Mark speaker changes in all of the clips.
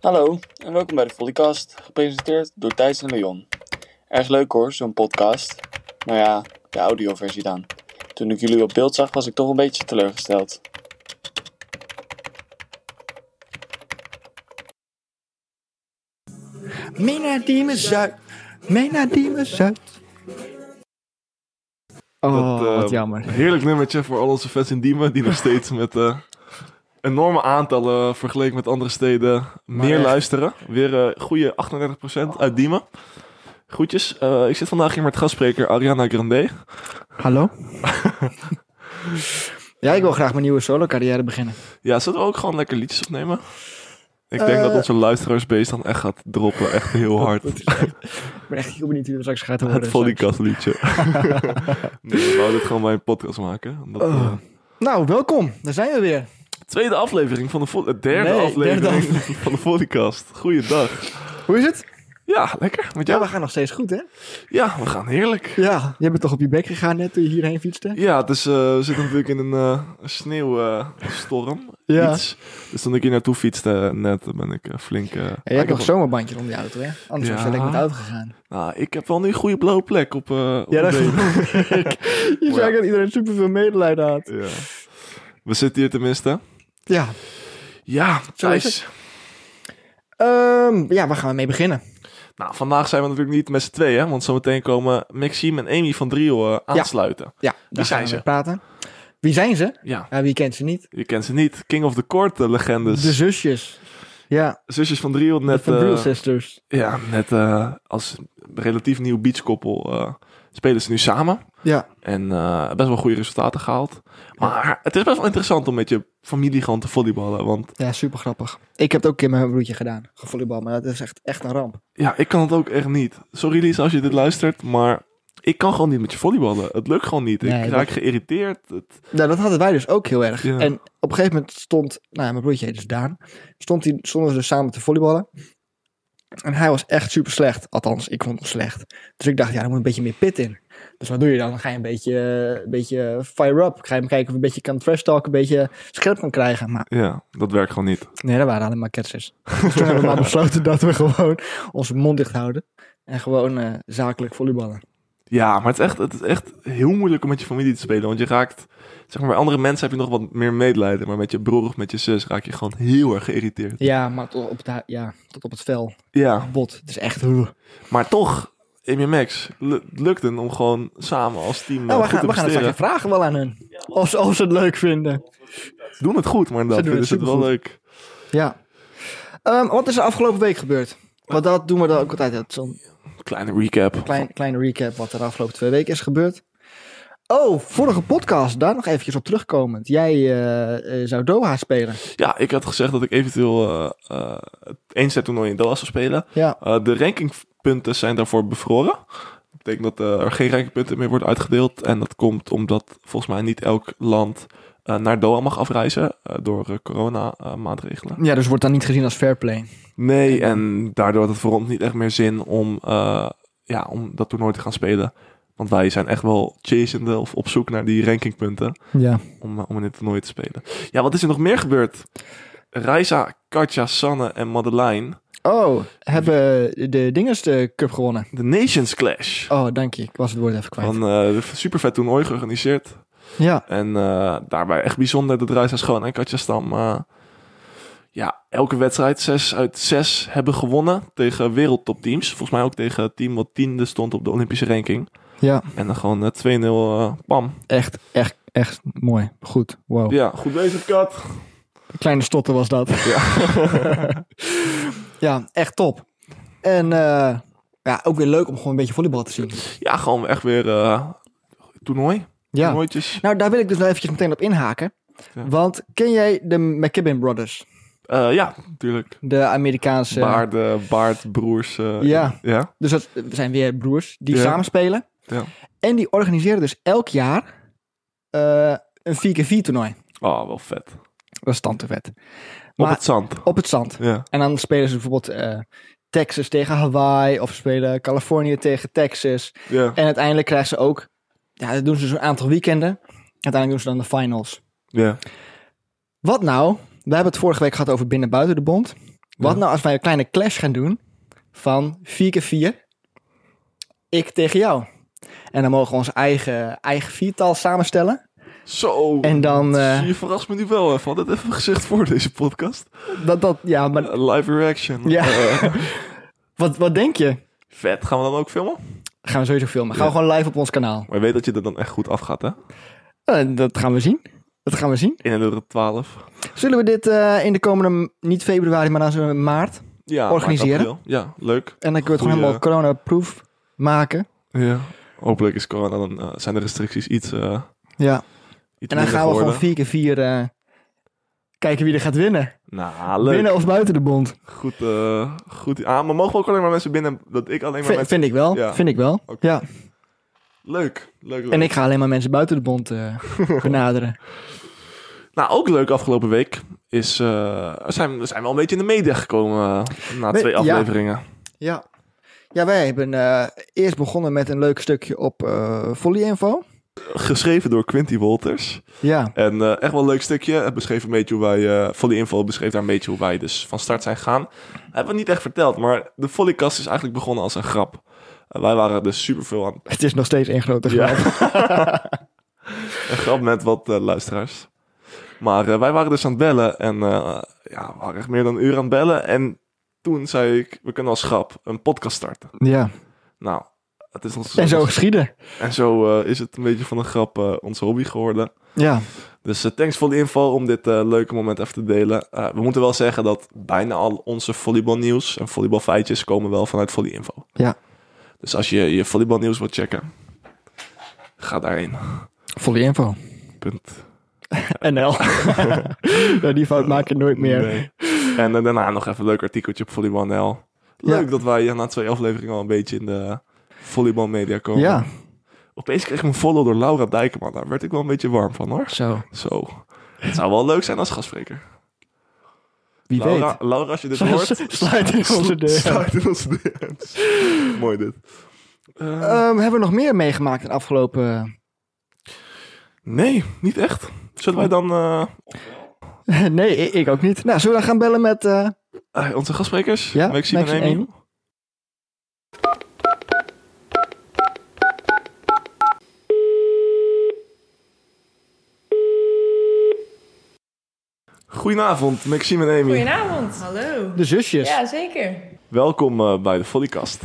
Speaker 1: Hallo en welkom bij de Follycast, gepresenteerd door Thijs en Leon. Erg leuk hoor, zo'n podcast. Nou ja, de audioversie dan. Toen ik jullie op beeld zag, was ik toch een beetje teleurgesteld.
Speaker 2: Mee naar Diemen Zuid. Mee naar Diemen Zuid. Oh,
Speaker 3: Dat, eh,
Speaker 2: wat jammer.
Speaker 3: Heerlijk nummertje voor al onze fans in Diemen, die nog steeds met eh, enorme aantallen vergeleken met andere steden meer
Speaker 2: echt.
Speaker 3: luisteren. Weer eh, goede 38% uit Diemen. Groetjes. Eh, ik zit vandaag hier met gastspreker Ariana Grande.
Speaker 2: Hallo? ja, ik wil graag mijn nieuwe solo-carrière beginnen.
Speaker 3: Ja, zullen we ook gewoon lekker liedjes opnemen? Ik denk
Speaker 2: Eh.
Speaker 3: dat onze luisteraarsbase dan echt gaat droppen, echt heel hard.
Speaker 2: Ik ben echt heel benieuwd hoe dat straks gaat worden.
Speaker 3: Het Volleycast liedje. nee, we wouden het gewoon bij een podcast maken. Omdat,
Speaker 2: Oh.
Speaker 3: eh,
Speaker 2: Nou, welkom. Daar zijn we weer.
Speaker 3: tweede aflevering van de vo- eh, derde
Speaker 2: Nee,
Speaker 3: aflevering
Speaker 2: derde
Speaker 3: van de Volleycast. Goeiedag.
Speaker 2: Hoe is het?
Speaker 3: Ja, lekker. Met
Speaker 2: Ja,
Speaker 3: jou?
Speaker 2: we gaan nog steeds goed, hè?
Speaker 3: Ja, we gaan heerlijk.
Speaker 2: Ja. Je bent toch op je bek gegaan net toen je hierheen fietste? Ah,
Speaker 3: Ja, het is, eh, we zitten natuurlijk in een sneeuwstorm.
Speaker 2: Ja.
Speaker 3: Iets. Dus toen ik hier naartoe fietste net, dan ben ik eh, flink... eh,
Speaker 2: En je hebt nog
Speaker 3: ik heb-
Speaker 2: zomerbandje om die auto, hè? Anders was je
Speaker 3: Ja.
Speaker 2: lekker met de auto gegaan.
Speaker 3: Nou, ik heb wel nu een goede blauwe plek op, eh op
Speaker 2: Ja,
Speaker 3: mijn
Speaker 2: dat
Speaker 3: been.
Speaker 2: Je
Speaker 3: zei
Speaker 2: dat iedereen superveel medelijden had.
Speaker 3: Ja. We zitten hier tenminste.
Speaker 2: Ja.
Speaker 3: Ja,
Speaker 2: Zo is
Speaker 3: Thijs.
Speaker 2: Ehm, ja, waar gaan we mee beginnen?
Speaker 3: Nou, vandaag zijn we natuurlijk niet met z'n tweeën, want zometeen komen Maxime en Amy van Driel eh, aansluiten.
Speaker 2: Ja, daar
Speaker 3: zijn
Speaker 2: gaan we
Speaker 3: ze?
Speaker 2: mee praten. Wie zijn ze?
Speaker 3: Ja.
Speaker 2: Ja, wie kent ze niet?
Speaker 3: je kent ze niet. King of the Court eh, legendes.
Speaker 2: De zusjes. Ja,
Speaker 3: Zusjes van Driel,
Speaker 2: de
Speaker 3: net...
Speaker 2: Dus- Van
Speaker 3: eh,
Speaker 2: Driel Sisters.
Speaker 3: Ja, net eh, als relatief nieuw beachkoppel eh, spelen ze nu samen.
Speaker 2: Ja,
Speaker 3: En eh, best wel goede resultaten gehaald. Maar het is best wel interessant om met je familie gewoon te volleyballen. Want
Speaker 2: ja super grappig. Ik heb het ook een keer met mijn broertje gedaan. Gevolleybal, maar dat is echt, echt een ramp.
Speaker 3: ja, ik kan het ook echt niet. Sorry Lies als je dit luistert, maar ik kan gewoon niet met je volleyballen. Het lukt gewoon niet. Ik
Speaker 2: Nee,
Speaker 3: raak geïrriteerd. Het,
Speaker 2: Nou, dat hadden wij dus ook heel erg.
Speaker 3: Ja.
Speaker 2: En op een gegeven moment stond, nou, mijn broertje heet dus Daan. Stond hij, stonden ze dus samen te volleyballen. En hij was echt super slecht. Althans, ik vond hem slecht. Dus ik dacht, ja, er moet een beetje meer pit in. Dus wat doe je dan? Dan ga je een beetje, eh, een beetje fire up. Ga je hem kijken of je een beetje kan trash talk, een beetje scherp kan krijgen. Maar
Speaker 3: ja, dat werkt gewoon niet.
Speaker 2: Nee, dat waren alleen maar ketsers. Dus toen hebben we maar besloten dat we gewoon onze mond dicht houden. En gewoon eh, zakelijk volleyballen.
Speaker 3: Ja, maar het is, echt, het is echt heel moeilijk om met je familie te spelen. Want je raakt, zeg maar, bij andere mensen heb je nog wat meer medelijden. Maar met je broer of met je zus raak je gewoon heel erg geïrriteerd.
Speaker 2: Ja, maar tot op het, hu- ja, tot op het vel.
Speaker 3: Ja,
Speaker 2: Oh, Bot. Het is echt... Nou,
Speaker 3: Maar toch, Amy Max, het lukt het om gewoon samen als team eh,
Speaker 2: Oh, we
Speaker 3: goed
Speaker 2: gaan,
Speaker 3: te
Speaker 2: we gaan het
Speaker 3: presteren.
Speaker 2: straks vragen wel aan hun. Of, ze- of ze het leuk vinden.
Speaker 3: Ze doen het goed, maar
Speaker 2: Ze
Speaker 3: dat
Speaker 2: doen het
Speaker 3: is het wel leuk.
Speaker 2: Ja. Ehm, wat is er afgelopen week gebeurd? Want dat doen we dan ook altijd. hè. Zo'n
Speaker 3: Kleine recap.
Speaker 2: klein, kleine recap wat er de afgelopen twee weken is gebeurd. Oh, vorige podcast. Daar nog eventjes op terugkomend. Jij eh, eh, zou Doha spelen.
Speaker 3: Ja, ik had gezegd dat ik eventueel eh eh het eindset toernooi in Dallas zou spelen.
Speaker 2: Ja.
Speaker 3: Eh, de rankingpunten zijn daarvoor bevroren. Dat betekent dat eh, er geen rankingpunten meer worden uitgedeeld. En dat komt omdat volgens mij niet elk land eh, naar Doha mag afreizen eh, door corona-maatregelen.
Speaker 2: Ja, dus wordt dan niet gezien als fair play.
Speaker 3: Nee, en daardoor had het voor ons niet echt meer zin om, eh, ja, om dat toernooi te gaan spelen. Want wij zijn echt wel chasende of op zoek naar die rankingpunten
Speaker 2: Ja.
Speaker 3: om, eh, om in dit toernooi te spelen. Ja, wat is er nog meer gebeurd? Reisa, Katja, Sanne en Madeleine.
Speaker 2: Oh, hebben de dinges de cup gewonnen.
Speaker 3: De Nations Clash.
Speaker 2: Oh, dank je. Ik was het woord even kwijt.
Speaker 3: Van eh super vet toernooi georganiseerd.
Speaker 2: ja.
Speaker 3: En eh, daarbij echt bijzonder dat Reisa Schoon en Katja Stam... eh, ja, elke wedstrijd 6 uit 6 hebben gewonnen tegen wereldtopteams. Volgens mij ook tegen het team wat tiende stond op de Olympische ranking.
Speaker 2: Ja,
Speaker 3: En dan gewoon eh, 2-0, eh, bam.
Speaker 2: echt, echt, echt mooi. Goed. Wow.
Speaker 3: Ja, goed bezig, Kat.
Speaker 2: Kleine stotter was dat. Ja, echt top. En eh, ja, ook weer leuk om gewoon een beetje volleybal te zien.
Speaker 3: Ja, gewoon echt weer eh, toernooi.
Speaker 2: Ja.
Speaker 3: Toernooitjes.
Speaker 2: Nou, daar wil ik dus nog eventjes meteen op inhaken.
Speaker 3: Ja.
Speaker 2: Want ken jij de McKibben Brothers?
Speaker 3: Eh, ja, natuurlijk.
Speaker 2: De Amerikaanse...
Speaker 3: Baarden, baardbroers. eh,
Speaker 2: Dus, eh, Ja.
Speaker 3: ja.
Speaker 2: Dus dat zijn weer broers die
Speaker 3: Ja.
Speaker 2: samen spelen.
Speaker 3: Ja.
Speaker 2: En die organiseren dus elk jaar eh, een 4x4 toernooi.
Speaker 3: Oh, wel vet.
Speaker 2: Dat is dan te vet.
Speaker 3: Op
Speaker 2: Maar-
Speaker 3: het zand.
Speaker 2: Op het zand.
Speaker 3: Ja.
Speaker 2: En dan spelen ze bijvoorbeeld eh, Texas tegen Hawaii. Of ze spelen Californië tegen Texas.
Speaker 3: Ja.
Speaker 2: En uiteindelijk krijgen ze ook... Ja, dat doen ze zo'n aantal weekenden. Uiteindelijk doen ze dan de finals.
Speaker 3: ja.
Speaker 2: Wat nou? We hebben het vorige week gehad over binnen-buiten de bond. Wat
Speaker 3: Ja.
Speaker 2: nou als wij een kleine clash gaan doen van 4 keer 4 ik tegen jou. En dan mogen we ons eigen, eigen viertal samenstellen.
Speaker 3: Zo.
Speaker 2: En dan, eh,
Speaker 3: Je verrast me nu wel even. Had het even gezegd voor deze podcast.
Speaker 2: Dat, dat, ja, maar
Speaker 3: Eh, live reaction.
Speaker 2: Ja.
Speaker 3: Eh,
Speaker 2: wat, wat denk je?
Speaker 3: vet. Gaan we dan ook filmen?
Speaker 2: Gaan we sowieso filmen. Gaan we
Speaker 3: Ja.
Speaker 2: gewoon live op ons kanaal.
Speaker 3: Maar je weet dat je er dan echt goed afgaat, hè?
Speaker 2: Eh, dat gaan we zien. Dat gaan we zien.
Speaker 3: 31 12.
Speaker 2: Zullen we dit eh, in de komende, m- niet februari, maar dan zullen we maart.
Speaker 3: Ja, maart,
Speaker 2: Organiseren.
Speaker 3: april. Ja, leuk.
Speaker 2: En dan kunnen we het gewoon
Speaker 3: Goeie.
Speaker 2: helemaal coronaproof maken.
Speaker 3: Ja. Hopelijk is corona dan, eh, zijn de restricties iets, eh,
Speaker 2: Ja.
Speaker 3: iets
Speaker 2: En dan
Speaker 3: minder
Speaker 2: gaan we gewoon
Speaker 3: geworden.
Speaker 2: vier keer vier eh, kijken wie er gaat winnen.
Speaker 3: Nou, leuk.
Speaker 2: Binnen of buiten de bond.
Speaker 3: Goed, eh, goed. Ah, maar mogen we ook alleen maar mensen binnen? Dat ik alleen maar
Speaker 2: Vind-
Speaker 3: mensen...
Speaker 2: vind ik wel.
Speaker 3: Ja.
Speaker 2: Vind ik wel.
Speaker 3: Oké.
Speaker 2: Ja.
Speaker 3: Leuk. Leuk. leuk.
Speaker 2: En ik ga alleen maar mensen buiten de bond eh, benaderen.
Speaker 3: Nou, ook leuk afgelopen week is... eh, er zijn, we zijn wel een beetje in de media gekomen eh, na
Speaker 2: We-
Speaker 3: twee
Speaker 2: ja.
Speaker 3: afleveringen.
Speaker 2: Ja. Ja, wij hebben eh, eerst begonnen met een leuk stukje op eh Volley Info.
Speaker 3: Geschreven door Quinty Wolters.
Speaker 2: Ja.
Speaker 3: En eh, echt wel een leuk stukje. Het beschreef een beetje hoe wij... eh Volley Info beschreef daar een beetje hoe wij dus van start zijn gegaan. Hebben we niet echt verteld, maar de Volleycast is eigenlijk begonnen als een grap. Eh, wij waren dus superveel aan
Speaker 2: Het is nog steeds één grote grap.
Speaker 3: Ja. een grap met wat eh, luisteraars. Maar eh, wij waren dus aan het bellen en eh, ja, we waren echt meer dan een uur aan het bellen. En toen zei ik, we kunnen als grap een podcast starten.
Speaker 2: Ja.
Speaker 3: Nou, het is ons
Speaker 2: En zo geschieden.
Speaker 3: en zo, eh, is het een beetje van een grap eh, onze hobby geworden.
Speaker 2: Ja.
Speaker 3: Dus eh, thanks voor de info om dit eh, leuke moment even te delen. Eh, we moeten wel zeggen dat bijna al onze volleybalnieuws en volleybalfeitjes komen wel vanuit Volley Info.
Speaker 2: Ja.
Speaker 3: Dus als je je volleybalnieuws wilt checken, ga daarheen.
Speaker 2: Volley Info.
Speaker 3: Punt.
Speaker 2: NL. nou, die fout maak je nooit meer.
Speaker 3: Nee. En eh, daarna nog even een leuk artikeltje op Volleybal NL. Leuk
Speaker 2: Ja.
Speaker 3: dat wij eh, na twee afleveringen al een beetje in de volleybalmedia komen.
Speaker 2: Ja.
Speaker 3: Opeens kreeg ik een follow door Laura Dijkman. Daar werd ik wel een beetje warm van hoor.
Speaker 2: Zo.
Speaker 3: Zo. Het zou wel leuk zijn als gastspreker.
Speaker 2: Wie
Speaker 3: Laura, Laura, als je dit
Speaker 2: weet.
Speaker 3: hoort,
Speaker 2: Sluit in onze
Speaker 3: slu-
Speaker 2: deur.
Speaker 3: sluit in onze DM's. Mooi dit. Eh,
Speaker 2: Ehm, hebben we nog meer meegemaakt in de afgelopen...
Speaker 3: nee, niet echt. Zullen wij dan eh,
Speaker 2: nee, i- ik ook niet. Nou, zullen we dan gaan bellen met... eh,
Speaker 3: eh, onze gastsprekers?
Speaker 2: Ja,
Speaker 3: Maxime en
Speaker 2: Maxime en
Speaker 3: Amy? Goedenavond, Maxime en Amy.
Speaker 4: Goedenavond. Hallo.
Speaker 2: de zusjes.
Speaker 4: Ja, zeker.
Speaker 3: Welkom eh, bij de Volleycast.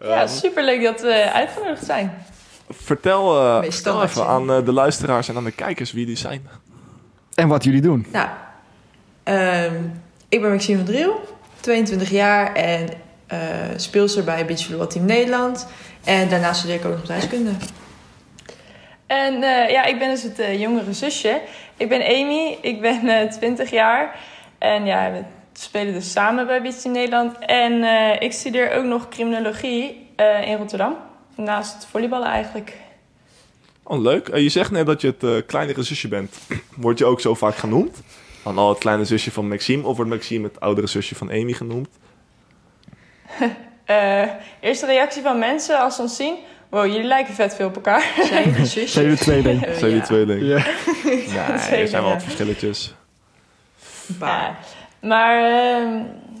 Speaker 4: Ja, superleuk dat we uitgenodigd zijn.
Speaker 3: Vertel, eh,
Speaker 4: Meestal
Speaker 3: vertel
Speaker 4: wat
Speaker 3: even
Speaker 4: je-
Speaker 3: aan eh, de luisteraars en aan de kijkers wie die zijn.
Speaker 2: En wat jullie doen.
Speaker 4: Nou, ehm, ik ben Maxime van Driel, 22 jaar en eh speelster bij Beachvolleybal Team Nederland. En daarnaast studeer ik ook nog bedrijfskunde.
Speaker 5: En eh, ja, ik ben dus het eh, jongere zusje. Ik ben Amy, ik ben eh 20 jaar. En ja, we spelen dus samen bij Beach Team Nederland. En eh, ik studeer ook nog criminologie eh, in Rotterdam. Naast volleyballen eigenlijk.
Speaker 3: Oh, leuk. Eh, je zegt net dat je het eh, kleinere zusje bent. Word je ook zo vaak genoemd? Van al het kleine zusje van Maxime? Of wordt Maxime het oudere zusje van Amy genoemd?
Speaker 5: Eh, eerste reactie van mensen als ze ons zien. Wow, jullie lijken vet veel op elkaar.
Speaker 4: Zijn jullie zusjes?
Speaker 2: Zijn jullie de tweeling?
Speaker 4: Eh,
Speaker 3: Zijn die
Speaker 4: ja,
Speaker 3: tweeling?
Speaker 2: Ja.
Speaker 3: Nee, er zijn wel wat verschilletjes.
Speaker 4: een paar.
Speaker 5: Maar ehm,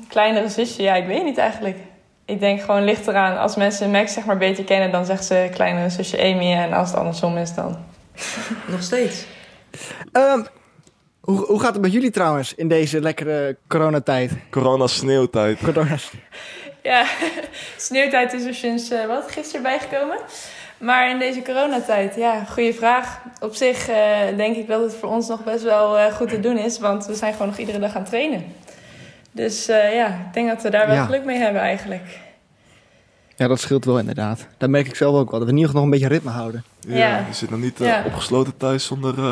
Speaker 5: kleinere zusje, ja, ik weet niet eigenlijk. Ik denk gewoon ligt eraan. Als mensen Max zeg maar beter kennen, dan zegt ze kleinere zusje Amy. En als het andersom is, dan
Speaker 4: Nog steeds.
Speaker 2: Ehm, hoe, hoe gaat het met jullie trouwens in deze lekkere coronatijd?
Speaker 3: Corona sneeuwtijd.
Speaker 2: Corona.
Speaker 5: Ja, sneeuwtijd is er sinds eh, wat gisteren bijgekomen. Maar in deze coronatijd, ja, goede vraag. Op zich eh, denk ik dat het voor ons nog best wel eh, goed te doen is, want we zijn gewoon nog iedere dag aan het trainen. Dus eh, ja, ik denk dat we daar wel
Speaker 2: Ja.
Speaker 5: geluk mee hebben eigenlijk.
Speaker 2: Ja, dat scheelt wel inderdaad. Dat merk ik zelf ook wel. Dat we in ieder geval nog een beetje ritme houden.
Speaker 3: Ja,
Speaker 5: Ja.
Speaker 3: Je zit nog niet eh,
Speaker 5: Ja.
Speaker 3: opgesloten thuis zonder eh,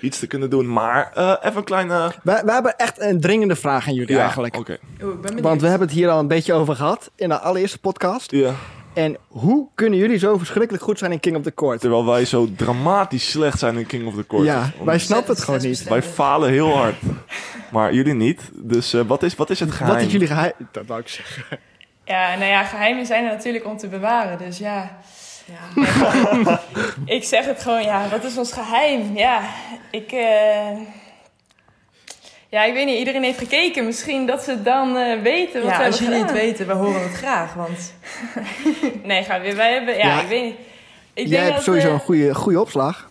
Speaker 3: iets te kunnen doen. Maar eh, even een kleine...
Speaker 2: Wij, wij hebben echt een dringende vraag aan jullie
Speaker 3: Ja,
Speaker 2: eigenlijk.
Speaker 3: Oké.
Speaker 4: Oeh, ik ben benieuwd.
Speaker 2: Want we hebben het hier al een beetje over gehad in de allereerste podcast.
Speaker 3: Ja.
Speaker 2: En hoe kunnen jullie zo verschrikkelijk goed zijn in King of the Court?
Speaker 3: Terwijl wij zo dramatisch slecht zijn in King of the Court.
Speaker 2: Ja,
Speaker 3: Want
Speaker 2: wij snappen het gewoon niet.
Speaker 3: wij falen heel hard. Maar jullie niet. Dus eh, wat, is, wat is het geheim?
Speaker 2: Wat is jullie geheim? Dat wou ik zeggen.
Speaker 5: Ja, nou ja, geheimen zijn er natuurlijk om te bewaren. Dus ja,
Speaker 4: Ja.
Speaker 5: ik zeg het gewoon, ja, wat is ons geheim? Ja, ik. eh, Ja, ik weet niet. Iedereen heeft gekeken. Misschien dat ze het dan eh, weten wat
Speaker 4: Ja,
Speaker 5: we hebben
Speaker 4: als jullie het
Speaker 5: gedaan.
Speaker 4: weten, we horen het graag. Want
Speaker 5: Nee, gaan we weer. Wij hebben... Ja,
Speaker 2: Ja.
Speaker 5: ik weet niet. Ik
Speaker 2: Jij
Speaker 5: denk
Speaker 2: hebt
Speaker 5: dat,
Speaker 2: sowieso
Speaker 5: eh,
Speaker 2: een goede, goede opslag.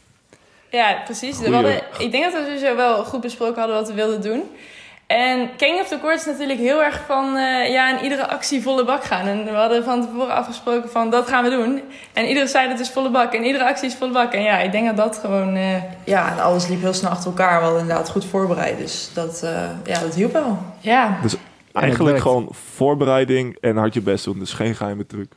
Speaker 5: Ja, precies. We
Speaker 3: Goeie.
Speaker 5: hadden, ik denk dat we sowieso wel goed besproken hadden wat we wilden doen. En King of the Court is natuurlijk heel erg van eh, ja, in iedere actie volle bak gaan. En we hadden van tevoren afgesproken van dat gaan we doen. En iedereen zei dat is volle bak en iedere actie is volle bak. En ja, ik denk dat dat gewoon... eh,
Speaker 4: ja, en alles liep heel snel achter elkaar. We hadden inderdaad goed voorbereid. Dus dat, eh, ja, dat hielp wel.
Speaker 5: ja,
Speaker 2: Dus
Speaker 3: Dus Eigenlijk
Speaker 2: werkt.
Speaker 3: gewoon voorbereiding en hard je best doen. Dus geen geheime truc.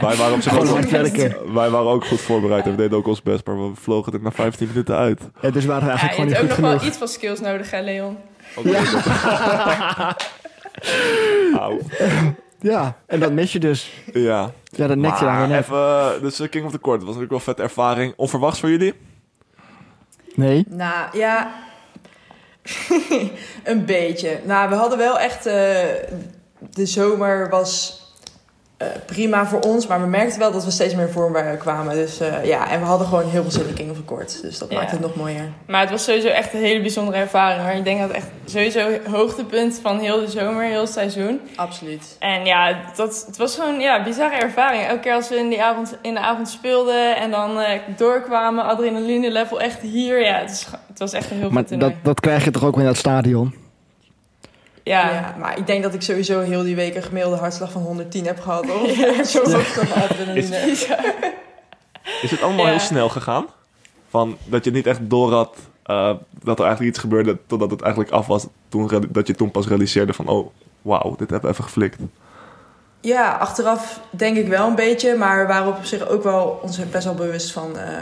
Speaker 3: wij, waren op zich ook,
Speaker 2: Gewoon hard werken.
Speaker 3: wel- wij waren ook goed voorbereid en we deden ook ons best, maar we vlogen er na 15 minuten uit.
Speaker 2: Ja, dus waren we
Speaker 5: ja je
Speaker 2: eigenlijk gewoon
Speaker 5: hebt
Speaker 2: niet
Speaker 5: ook
Speaker 2: goed
Speaker 5: nog
Speaker 2: genoeg.
Speaker 5: wel iets van skills nodig hè, Leon.
Speaker 3: Auw.
Speaker 2: Ja, en dat mis je dus.
Speaker 3: Ja.
Speaker 2: Ja, dat nek je daar
Speaker 3: Maar
Speaker 2: weer net.
Speaker 3: even, dus eh, King of the Court was natuurlijk wel een vette ervaring. Onverwachts voor jullie?
Speaker 2: Nee.
Speaker 4: Nou ja, een beetje. Nou, we hadden wel echt. eh, de zomer was eh, prima voor ons, maar we merkten wel dat we steeds meer vorm waren- kwamen. Dus eh, ja, en we hadden gewoon heel veel zin in King of the Court. Dus dat
Speaker 5: Ja.
Speaker 4: maakt het nog mooier.
Speaker 5: Maar het was sowieso echt een hele bijzondere ervaring. Hoor. Ik denk dat het echt sowieso hoogtepunt van heel de zomer, heel het seizoen.
Speaker 4: Absoluut.
Speaker 5: En ja, dat, het was gewoon ja, een bizarre ervaring. Elke keer als we in, die avond, in de avond speelden en dan eh, doorkwamen, adrenaline level echt hier. Ja, het, is ge- het was echt een heel goed
Speaker 2: Maar dat,
Speaker 5: toernooi.
Speaker 2: dat krijg je toch ook in dat stadion?
Speaker 5: Ja.
Speaker 4: Ja. maar ik denk dat ik sowieso heel die week een gemiddelde hartslag van 110 heb gehad. Of zo was dat adrenaline.
Speaker 3: Is het allemaal
Speaker 5: Ja.
Speaker 3: heel snel gegaan? Van dat je niet echt door had eh, dat er eigenlijk iets gebeurde totdat het eigenlijk af was. Toen, re- dat je toen pas realiseerde van, oh, wauw, dit hebben we even geflikt.
Speaker 4: Ja, achteraf denk ik wel een beetje, maar we waren op zich ook wel ons best wel bewust van, eh,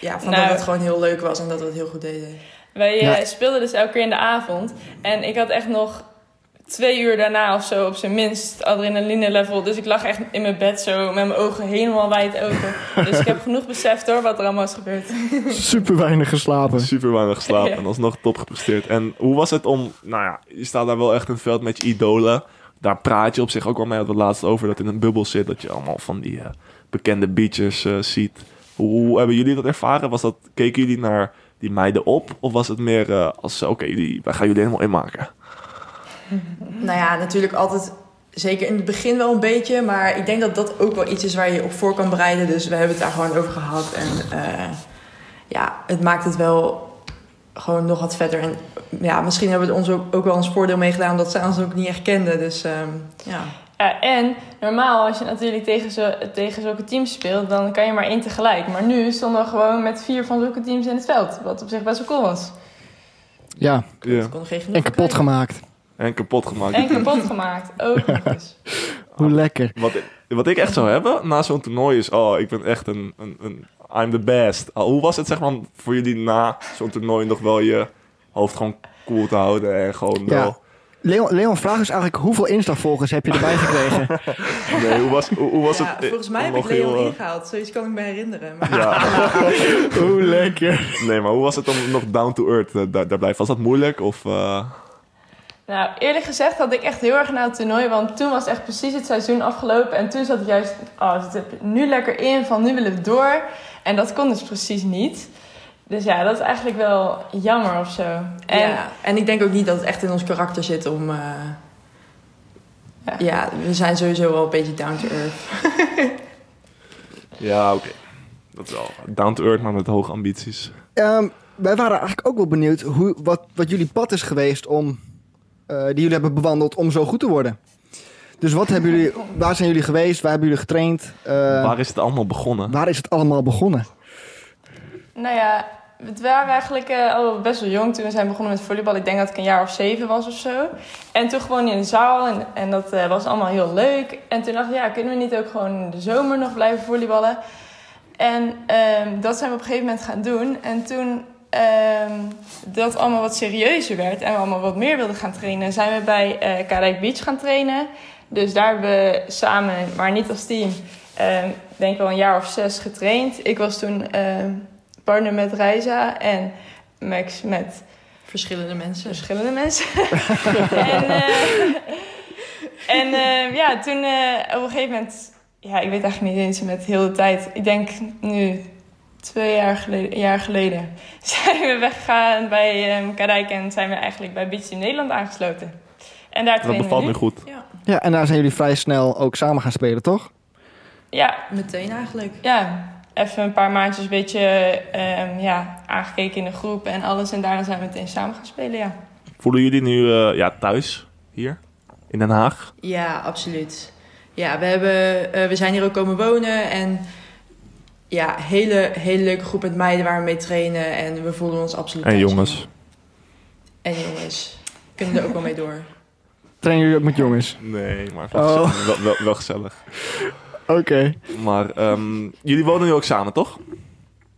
Speaker 4: ja, van
Speaker 5: Nou.
Speaker 4: dat het gewoon heel leuk was en dat we het heel goed deden.
Speaker 5: Wij eh,
Speaker 2: Ja.
Speaker 5: speelden dus elke keer in de avond. En ik had echt nog twee uur daarna of zo op zijn minst adrenaline level. Dus ik lag echt in mijn bed zo met mijn ogen helemaal wijd open. dus ik heb genoeg beseft hoor wat er allemaal is gebeurd.
Speaker 2: Super weinig geslapen.
Speaker 3: Super weinig geslapen
Speaker 5: Ja.
Speaker 3: en alsnog top gepresteerd. En hoe was het om, nou ja, je staat daar wel echt in het veld met je idolen. Daar praat je op zich ook wel mee, hadden we het laatst over, dat in een bubbel zit. Dat je allemaal van die eh, bekende beaches eh, ziet. Hoe hebben jullie dat ervaren? Was dat, keken jullie naar die meiden op? Of was het meer eh, als, oké, die wij gaan jullie helemaal inmaken?
Speaker 4: Nou ja, natuurlijk altijd, zeker in het begin wel een beetje, maar ik denk dat dat ook wel iets is waar je je op voor kan bereiden. Dus we hebben het daar gewoon over gehad en eh, ja, het maakt het wel gewoon nog wat verder. En ja, misschien hebben we het ons ook, ook wel ons voordeel meegedaan omdat ze ons ook niet echt kenden, dus ehm, ja.
Speaker 5: Ja, en normaal als je natuurlijk tegen, zo, tegen zulke teams speelt, dan kan je maar één tegelijk. Maar nu stonden we gewoon met vier van zulke teams in het veld. Wat op zich best wel cool was.
Speaker 2: Ja,
Speaker 4: Ik dus kon er geen genoeg
Speaker 2: en
Speaker 4: van
Speaker 2: kapot
Speaker 4: krijgen.
Speaker 2: gemaakt.
Speaker 3: En kapot gemaakt.
Speaker 5: En kapot gemaakt. Ook dus. nog eens.
Speaker 2: Hoe lekker.
Speaker 3: Wat, wat ik echt zou hebben na zo'n toernooi is... Oh, ik ben echt een... een, een I'm the best. Ah, hoe was het zeg maar voor jullie na zo'n toernooi nog wel je hoofd gewoon cool te houden en gewoon
Speaker 2: Ja.
Speaker 3: wel...
Speaker 2: Leon, Leon, vraag is eigenlijk hoeveel Insta-volgers heb je erbij gekregen?
Speaker 3: Nee, hoe was, hoe, hoe was
Speaker 4: Ja,
Speaker 3: het? eh,
Speaker 4: volgens mij heb
Speaker 3: nog
Speaker 4: ik Leon
Speaker 3: heel, eh,
Speaker 4: ingehaald, zoiets kan ik me herinneren. Maar...
Speaker 3: Ja,
Speaker 2: Hoe lekker.
Speaker 3: nee, maar hoe was het om nog down to earth eh, daar, daar blijven? Was dat moeilijk of... eh,
Speaker 5: Nou, eerlijk gezegd had ik echt heel erg naar het toernooi. Want toen was echt precies het seizoen afgelopen. En toen zat ik juist, oh, het zit er nu lekker in, van nu willen we door. En dat kon dus precies niet. Dus ja, dat is eigenlijk wel jammer of zo. En
Speaker 4: En, en ik denk ook niet dat het echt in ons karakter zit om. eh,
Speaker 5: Ja.
Speaker 4: ja. we zijn sowieso wel een beetje down to earth.
Speaker 3: Ja, oké. Dat is wel down to earth, maar met hoge ambities.
Speaker 2: Ehm, wij waren eigenlijk ook wel benieuwd hoe, wat, wat jullie pad is geweest om, eh, die jullie hebben bewandeld om zo goed te worden. Dus wat hebben jullie, waar zijn jullie geweest? Waar hebben jullie getraind? Eh,
Speaker 3: Waar is het allemaal begonnen?
Speaker 2: waar is het allemaal begonnen?
Speaker 5: Nou ja, we waren eigenlijk eh, al best wel jong toen we zijn begonnen met volleybal. Ik denk dat ik een jaar of zeven was of zo. En toen gewoon in de zaal en, en dat eh, was allemaal heel leuk. En toen dacht ik, ja, kunnen we niet ook gewoon in de zomer nog blijven volleyballen? En ehm, dat zijn we op een gegeven moment gaan doen. En toen ehm, dat allemaal wat serieuzer werd en we allemaal wat meer wilden gaan trainen, zijn we bij eh Karijk Beach gaan trainen. Dus daar hebben we samen, maar niet als team, ehm, denk wel een jaar of zes getraind. Ik was toen ehm, partner met Reiza en Max met
Speaker 4: Verschillende mensen.
Speaker 5: verschillende mensen. en eh, en eh, ja, toen eh, op een gegeven moment, ja, ik weet eigenlijk niet eens met heel de tijd. Ik denk nu twee jaar geleden, jaar geleden zijn we weggegaan bij ehm Karijk en zijn we eigenlijk bij Beach in Nederland aangesloten. En daar
Speaker 3: Dat
Speaker 5: trainen
Speaker 3: bevalt
Speaker 5: we
Speaker 3: nu
Speaker 5: nu.
Speaker 3: goed.
Speaker 2: Ja, en daar zijn jullie vrij snel ook samen gaan spelen, toch?
Speaker 5: Ja,
Speaker 4: Meteen eigenlijk.
Speaker 5: ja, even een paar maandjes een beetje ehm, ja, aangekeken in de groep en alles. En daarna zijn we meteen samen gaan spelen, ja.
Speaker 3: Voelen jullie nu eh, ja, thuis hier in Den Haag?
Speaker 4: Ja, absoluut. Ja, we, hebben, eh, we zijn hier ook komen wonen en ja, hele, hele leuke groep met meiden waar we mee trainen en we voelen ons absoluut
Speaker 3: En
Speaker 4: thuis.
Speaker 3: jongens.
Speaker 4: En jongens. Kunnen er ook wel mee door.
Speaker 2: Trainen jullie ook met jongens?
Speaker 3: Nee, maar
Speaker 2: wel Oh.
Speaker 3: wel, gezellig.
Speaker 2: Oké.
Speaker 3: Maar ehm, jullie wonen nu ook samen, toch?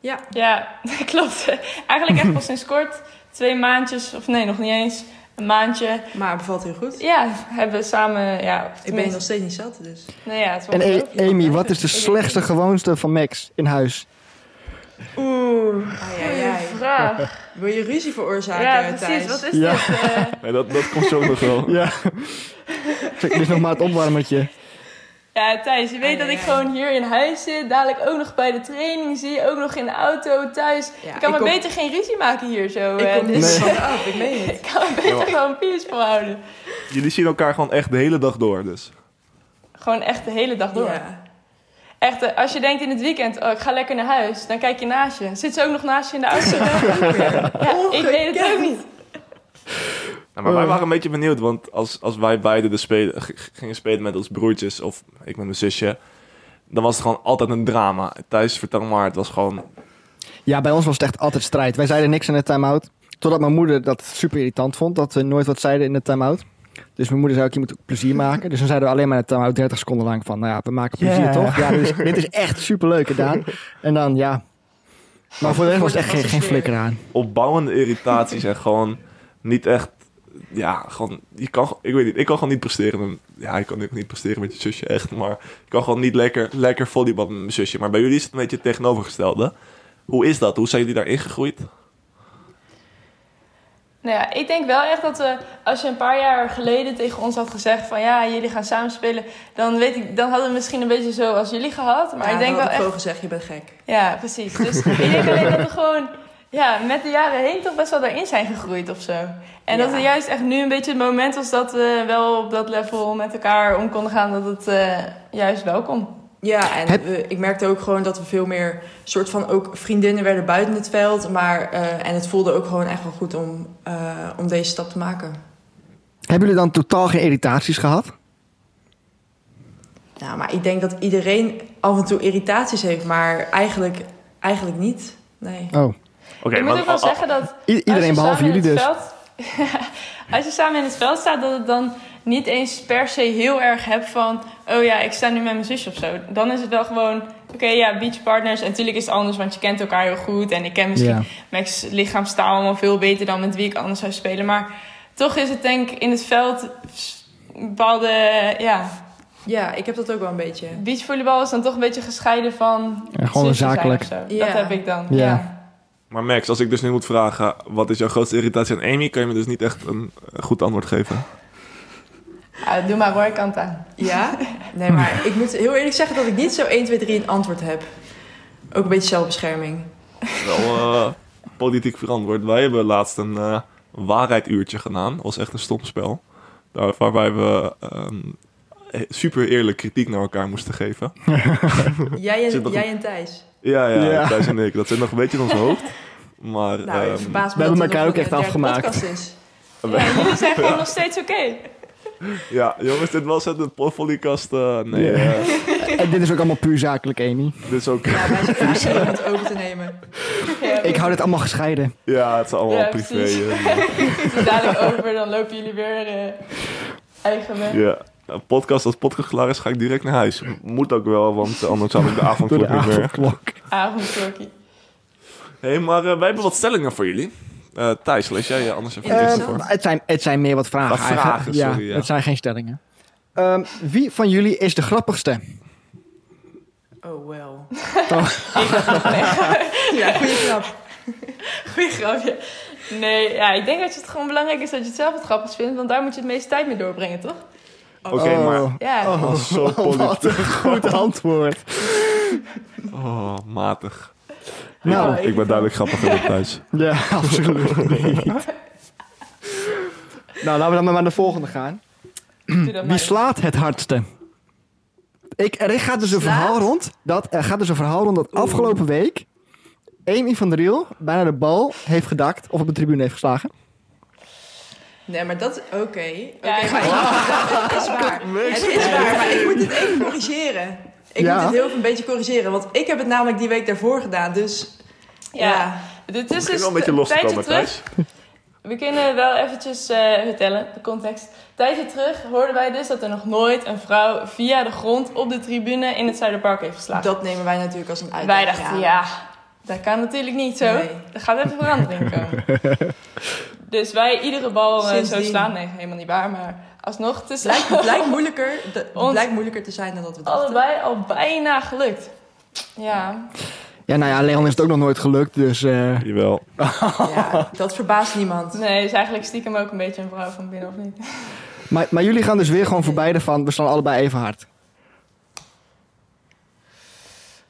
Speaker 4: Ja,
Speaker 5: Ja, klopt. Eigenlijk echt pas sinds kort. Twee maandjes, of nee, nog niet eens. Een maandje.
Speaker 4: maar het bevalt heel goed.
Speaker 5: Ja, hebben we samen... Ja,
Speaker 4: Ik ben je nog steeds niet zat, dus.
Speaker 5: Nee, ja, het is
Speaker 2: En
Speaker 5: wel
Speaker 2: eh,
Speaker 5: leuk.
Speaker 2: Amy, wat is de slechtste gewoonste van Max in huis?
Speaker 5: Oeh,
Speaker 4: Ai, ai,
Speaker 5: goeie
Speaker 4: ai.
Speaker 5: vraag.
Speaker 4: Wil je ruzie veroorzaken
Speaker 5: Ja,
Speaker 4: Thijs?
Speaker 5: precies. Wat is
Speaker 2: Ja.
Speaker 5: dit? eh?
Speaker 3: Nee, dat, dat komt zo nog wel.
Speaker 2: Ja. Dit is nog maar het opwarmetje.
Speaker 5: ja, Thijs, je weet
Speaker 4: Ai,
Speaker 5: dat
Speaker 4: ai,
Speaker 5: ik
Speaker 4: ai.
Speaker 5: gewoon hier in huis zit. Dadelijk ook nog bij de training zie. Ook nog in de auto, thuis.
Speaker 4: Ja,
Speaker 5: ik kan
Speaker 4: ik
Speaker 5: me
Speaker 4: kom-
Speaker 5: beter geen ruzie maken hier zo. eh,
Speaker 4: Ik kom niet
Speaker 5: dus
Speaker 4: van me af, ik meen het.
Speaker 5: ik kan me beter
Speaker 3: Ja.
Speaker 5: gewoon peaceful houden.
Speaker 3: Jullie zien elkaar gewoon echt de hele dag door, dus.
Speaker 5: Gewoon echt de hele dag door.
Speaker 4: Ja.
Speaker 5: Echt, eh, als je denkt in het weekend, oh, ik ga lekker naar huis, dan kijk je naast je. Zit ze ook nog naast je in de auto? ja, ik weet het ook niet.
Speaker 3: Nou,
Speaker 2: Oh.
Speaker 3: maar wij waren een beetje benieuwd, want als, als wij beiden de spelen, g- g- gingen spelen met ons broertjes of ik met mijn zusje, dan was het gewoon altijd een drama. Thijs, vertel maar, het was gewoon...
Speaker 2: Ja, bij ons was het echt altijd strijd. Wij zeiden niks in de time-out. Totdat mijn moeder dat super irritant vond. Dat we nooit wat zeiden in de time-out. Dus mijn moeder zei ook, je moet ook plezier maken. Dus dan zeiden we alleen maar in de time-out 30 seconden lang van... Nou ja, we maken plezier
Speaker 3: Ja.
Speaker 2: toch? Ja, dit is, dit is echt super leuk gedaan. En dan, ja... Maar voor de rest was het echt geen, geen flikker aan.
Speaker 3: opbouwende irritaties en gewoon niet echt... Ja, gewoon, je kan, ik weet niet, ik kan gewoon niet presteren. met- Ja, ik kan ook niet presteren met je zusje, echt. Maar ik kan gewoon niet lekker, lekker volleyballen met mijn zusje. Maar bij jullie is het een beetje het tegenovergestelde. Hoe is dat? Hoe zijn jullie daarin gegroeid?
Speaker 5: Nou ja, ik denk wel echt dat we, als je een paar jaar geleden tegen ons had gezegd van ja, jullie gaan samen spelen, dan, weet ik, dan hadden we misschien een beetje zo als jullie gehad. Maar
Speaker 4: Ja,
Speaker 5: ik denk
Speaker 4: dan
Speaker 5: wel
Speaker 4: had ik
Speaker 5: echt
Speaker 4: gewoon gezegd, je bent gek.
Speaker 5: Ja, precies. Dus ik denk alleen dat we gewoon ja, met de jaren heen toch best wel daarin zijn gegroeid of zo. En dat
Speaker 4: Ja.
Speaker 5: er juist echt nu een beetje het moment was dat we wel op dat level met elkaar om konden gaan, dat het eh, juist wel kon.
Speaker 4: Ja, en
Speaker 2: Heb-
Speaker 4: we- ik merkte ook gewoon dat we veel meer soort van ook vriendinnen werden buiten het veld. Maar, eh, en het voelde ook gewoon echt wel goed om, eh, om deze stap te maken.
Speaker 2: Hebben jullie dan totaal geen irritaties gehad?
Speaker 4: Nou, maar ik denk dat iedereen af en toe irritaties heeft, maar eigenlijk, eigenlijk niet. Nee.
Speaker 2: Oh.
Speaker 3: Oké, ah,
Speaker 5: ik moet ook wel zeggen dat
Speaker 2: I- iedereen
Speaker 5: Als je
Speaker 2: behalve
Speaker 5: samen
Speaker 2: jullie
Speaker 5: in
Speaker 2: dus.
Speaker 5: het veld- als je samen in het veld staat, dat het dan niet eens per se heel erg hebt van... oh ja, ik sta nu met mijn zusje of zo. Dan is het wel gewoon, oké, ja, beachpartners. En natuurlijk is het anders, want je kent elkaar heel goed. En ik ken misschien
Speaker 2: Ja.
Speaker 5: Max' lichaamstaal allemaal veel beter dan met wie ik anders zou spelen. Maar toch is het denk ik in het veld een bepaalde... Ja,
Speaker 4: Ja, ik heb dat ook wel een beetje.
Speaker 5: beachvolleybal is dan toch een beetje gescheiden van...
Speaker 2: Ja, gewoon
Speaker 5: zusjes zijn
Speaker 2: zakelijk.
Speaker 5: of zo.
Speaker 4: Ja.
Speaker 5: Dat heb ik dan,
Speaker 2: Ja.
Speaker 5: ja.
Speaker 3: Maar Max, als ik dus nu moet vragen, wat is jouw grootste irritatie aan Amy? Kan je me dus niet echt een eh, goed antwoord geven.
Speaker 5: Ah, doe maar, hoor, ik kan het aan.
Speaker 4: Ja? Nee, maar ik moet heel eerlijk zeggen dat ik niet zo 1, 2, 3 een antwoord heb. Ook een beetje zelfbescherming.
Speaker 3: Wel eh, politiek verantwoord. Wij hebben laatst een eh, waarheiduurtje gedaan. Dat was echt een stom spel. Daar- Waarbij we ehm, eh, super eerlijk kritiek naar elkaar moesten geven.
Speaker 4: Jij
Speaker 3: Zit
Speaker 4: en,
Speaker 3: nog-
Speaker 4: jij en Thijs.
Speaker 3: Ja, ja,
Speaker 2: Ja.
Speaker 3: Thijs en ik. Dat zit nog een beetje in ons hoofd. Maar
Speaker 4: Nou, het
Speaker 3: ehm,
Speaker 4: verbaast
Speaker 2: we
Speaker 4: me dat
Speaker 2: hebben
Speaker 4: het
Speaker 2: elkaar
Speaker 4: nog
Speaker 2: ook echt
Speaker 4: een derde
Speaker 2: afgemaakt.
Speaker 4: podcast is.
Speaker 5: Ja, jullie zijn gewoon nog steeds oké.
Speaker 3: ja, jongens, dit was het. De Polykast. eh, nee,
Speaker 2: Ja.
Speaker 3: eh,
Speaker 2: En dit is ook allemaal puur zakelijk, Amy.
Speaker 3: dit is ook...
Speaker 4: Ja, wij zijn eigenlijk om het over te nemen.
Speaker 5: Ja,
Speaker 2: Ik hou dit allemaal gescheiden.
Speaker 3: Ja, het is allemaal
Speaker 5: Ja,
Speaker 3: privé.
Speaker 5: precies.
Speaker 3: eh,
Speaker 5: Dus dadelijk over, dan lopen jullie weer eh, eigen weg.
Speaker 3: Ja, een podcast als podcast klaar is, ga ik direct naar huis. M- Moet ook wel, want eh, anders had ik de
Speaker 2: Door
Speaker 3: avondklok
Speaker 2: de
Speaker 3: niet meer.
Speaker 2: avondklok.
Speaker 5: Avondklokkie.
Speaker 3: Hé, hey, maar eh, wij hebben wat stellingen voor jullie. Eh Thijs, lees jij je anders even
Speaker 4: Ehm,
Speaker 3: eerst
Speaker 2: Ehm,
Speaker 3: voor.
Speaker 2: het, zijn, het zijn meer wat vragen.
Speaker 3: Wat vragen,
Speaker 2: eigenlijk. ja,
Speaker 3: sorry, ja.
Speaker 2: Het zijn geen stellingen. Ehm, wie van jullie is de grappigste?
Speaker 4: Oh, wel.
Speaker 5: Nee,
Speaker 4: Ja, goede grap.
Speaker 5: Goeie grapje. Nee, ja, ik denk dat het gewoon belangrijk is dat je het zelf het grappig vindt, want daar moet je het meeste tijd mee doorbrengen, toch?
Speaker 3: Oké, maar...
Speaker 2: Oh,
Speaker 5: Ja.
Speaker 3: Oh, zo
Speaker 2: wat een goed antwoord.
Speaker 3: Oh, matig.
Speaker 2: Nou,
Speaker 3: ik, ik ben duidelijk grappiger dan
Speaker 5: Dus
Speaker 3: thuis.
Speaker 2: Ja, absoluut niet. nou, laten we dan maar naar de volgende gaan.
Speaker 5: Doe dat
Speaker 2: Wie
Speaker 5: maar.
Speaker 2: slaat het hardste? Ik, er gaat dus een
Speaker 4: Slaat?
Speaker 2: verhaal rond. Dat, er gaat dus een verhaal rond dat afgelopen week... Amy van der Riel bijna de bal heeft gedakt... of op de tribune heeft geslagen.
Speaker 4: Nee, maar dat... Oké. Oké,
Speaker 5: Ja, ik-
Speaker 4: maar ik- het is waar. Het is waar, maar ik moet het even corrigeren. Ik
Speaker 2: Ja.
Speaker 4: moet het heel even een beetje corrigeren. Want ik heb het namelijk die week daarvoor gedaan. Dus ja.
Speaker 5: Ja, dit is dus
Speaker 3: wel een beetje los te
Speaker 5: tijdje
Speaker 3: komen,
Speaker 5: terug.
Speaker 3: Thijs.
Speaker 5: We kunnen wel eventjes eh, vertellen, de context. Een tijdje terug hoorden wij dus dat er nog nooit een vrouw via de grond op de tribune in het Zuiderpark heeft geslagen.
Speaker 4: dat nemen wij natuurlijk als een
Speaker 5: wij
Speaker 4: uitdaging.
Speaker 5: dachten, ja.
Speaker 4: aan.
Speaker 5: dat kan natuurlijk niet zo.
Speaker 4: Nee.
Speaker 5: Er gaat even verandering komen. dus wij iedere bal eh, zo
Speaker 4: Sindsdien.
Speaker 5: slaan. Nee, helemaal niet waar, maar alsnog. Het is
Speaker 4: Het lijkt, het lijkt moeilijker, de- het
Speaker 5: Ons-
Speaker 4: blijkt moeilijker te zijn dan dat we dachten.
Speaker 5: allebei al bijna gelukt. Ja,
Speaker 2: Ja, nou ja, Leon is het ook nog nooit gelukt, dus... eh,
Speaker 3: Jawel.
Speaker 4: Ja, dat verbaast niemand.
Speaker 5: nee, is eigenlijk stiekem ook een beetje een vrouw van binnen, of niet?
Speaker 2: Maar, maar jullie gaan dus weer gewoon voor beide van... we slaan allebei even hard.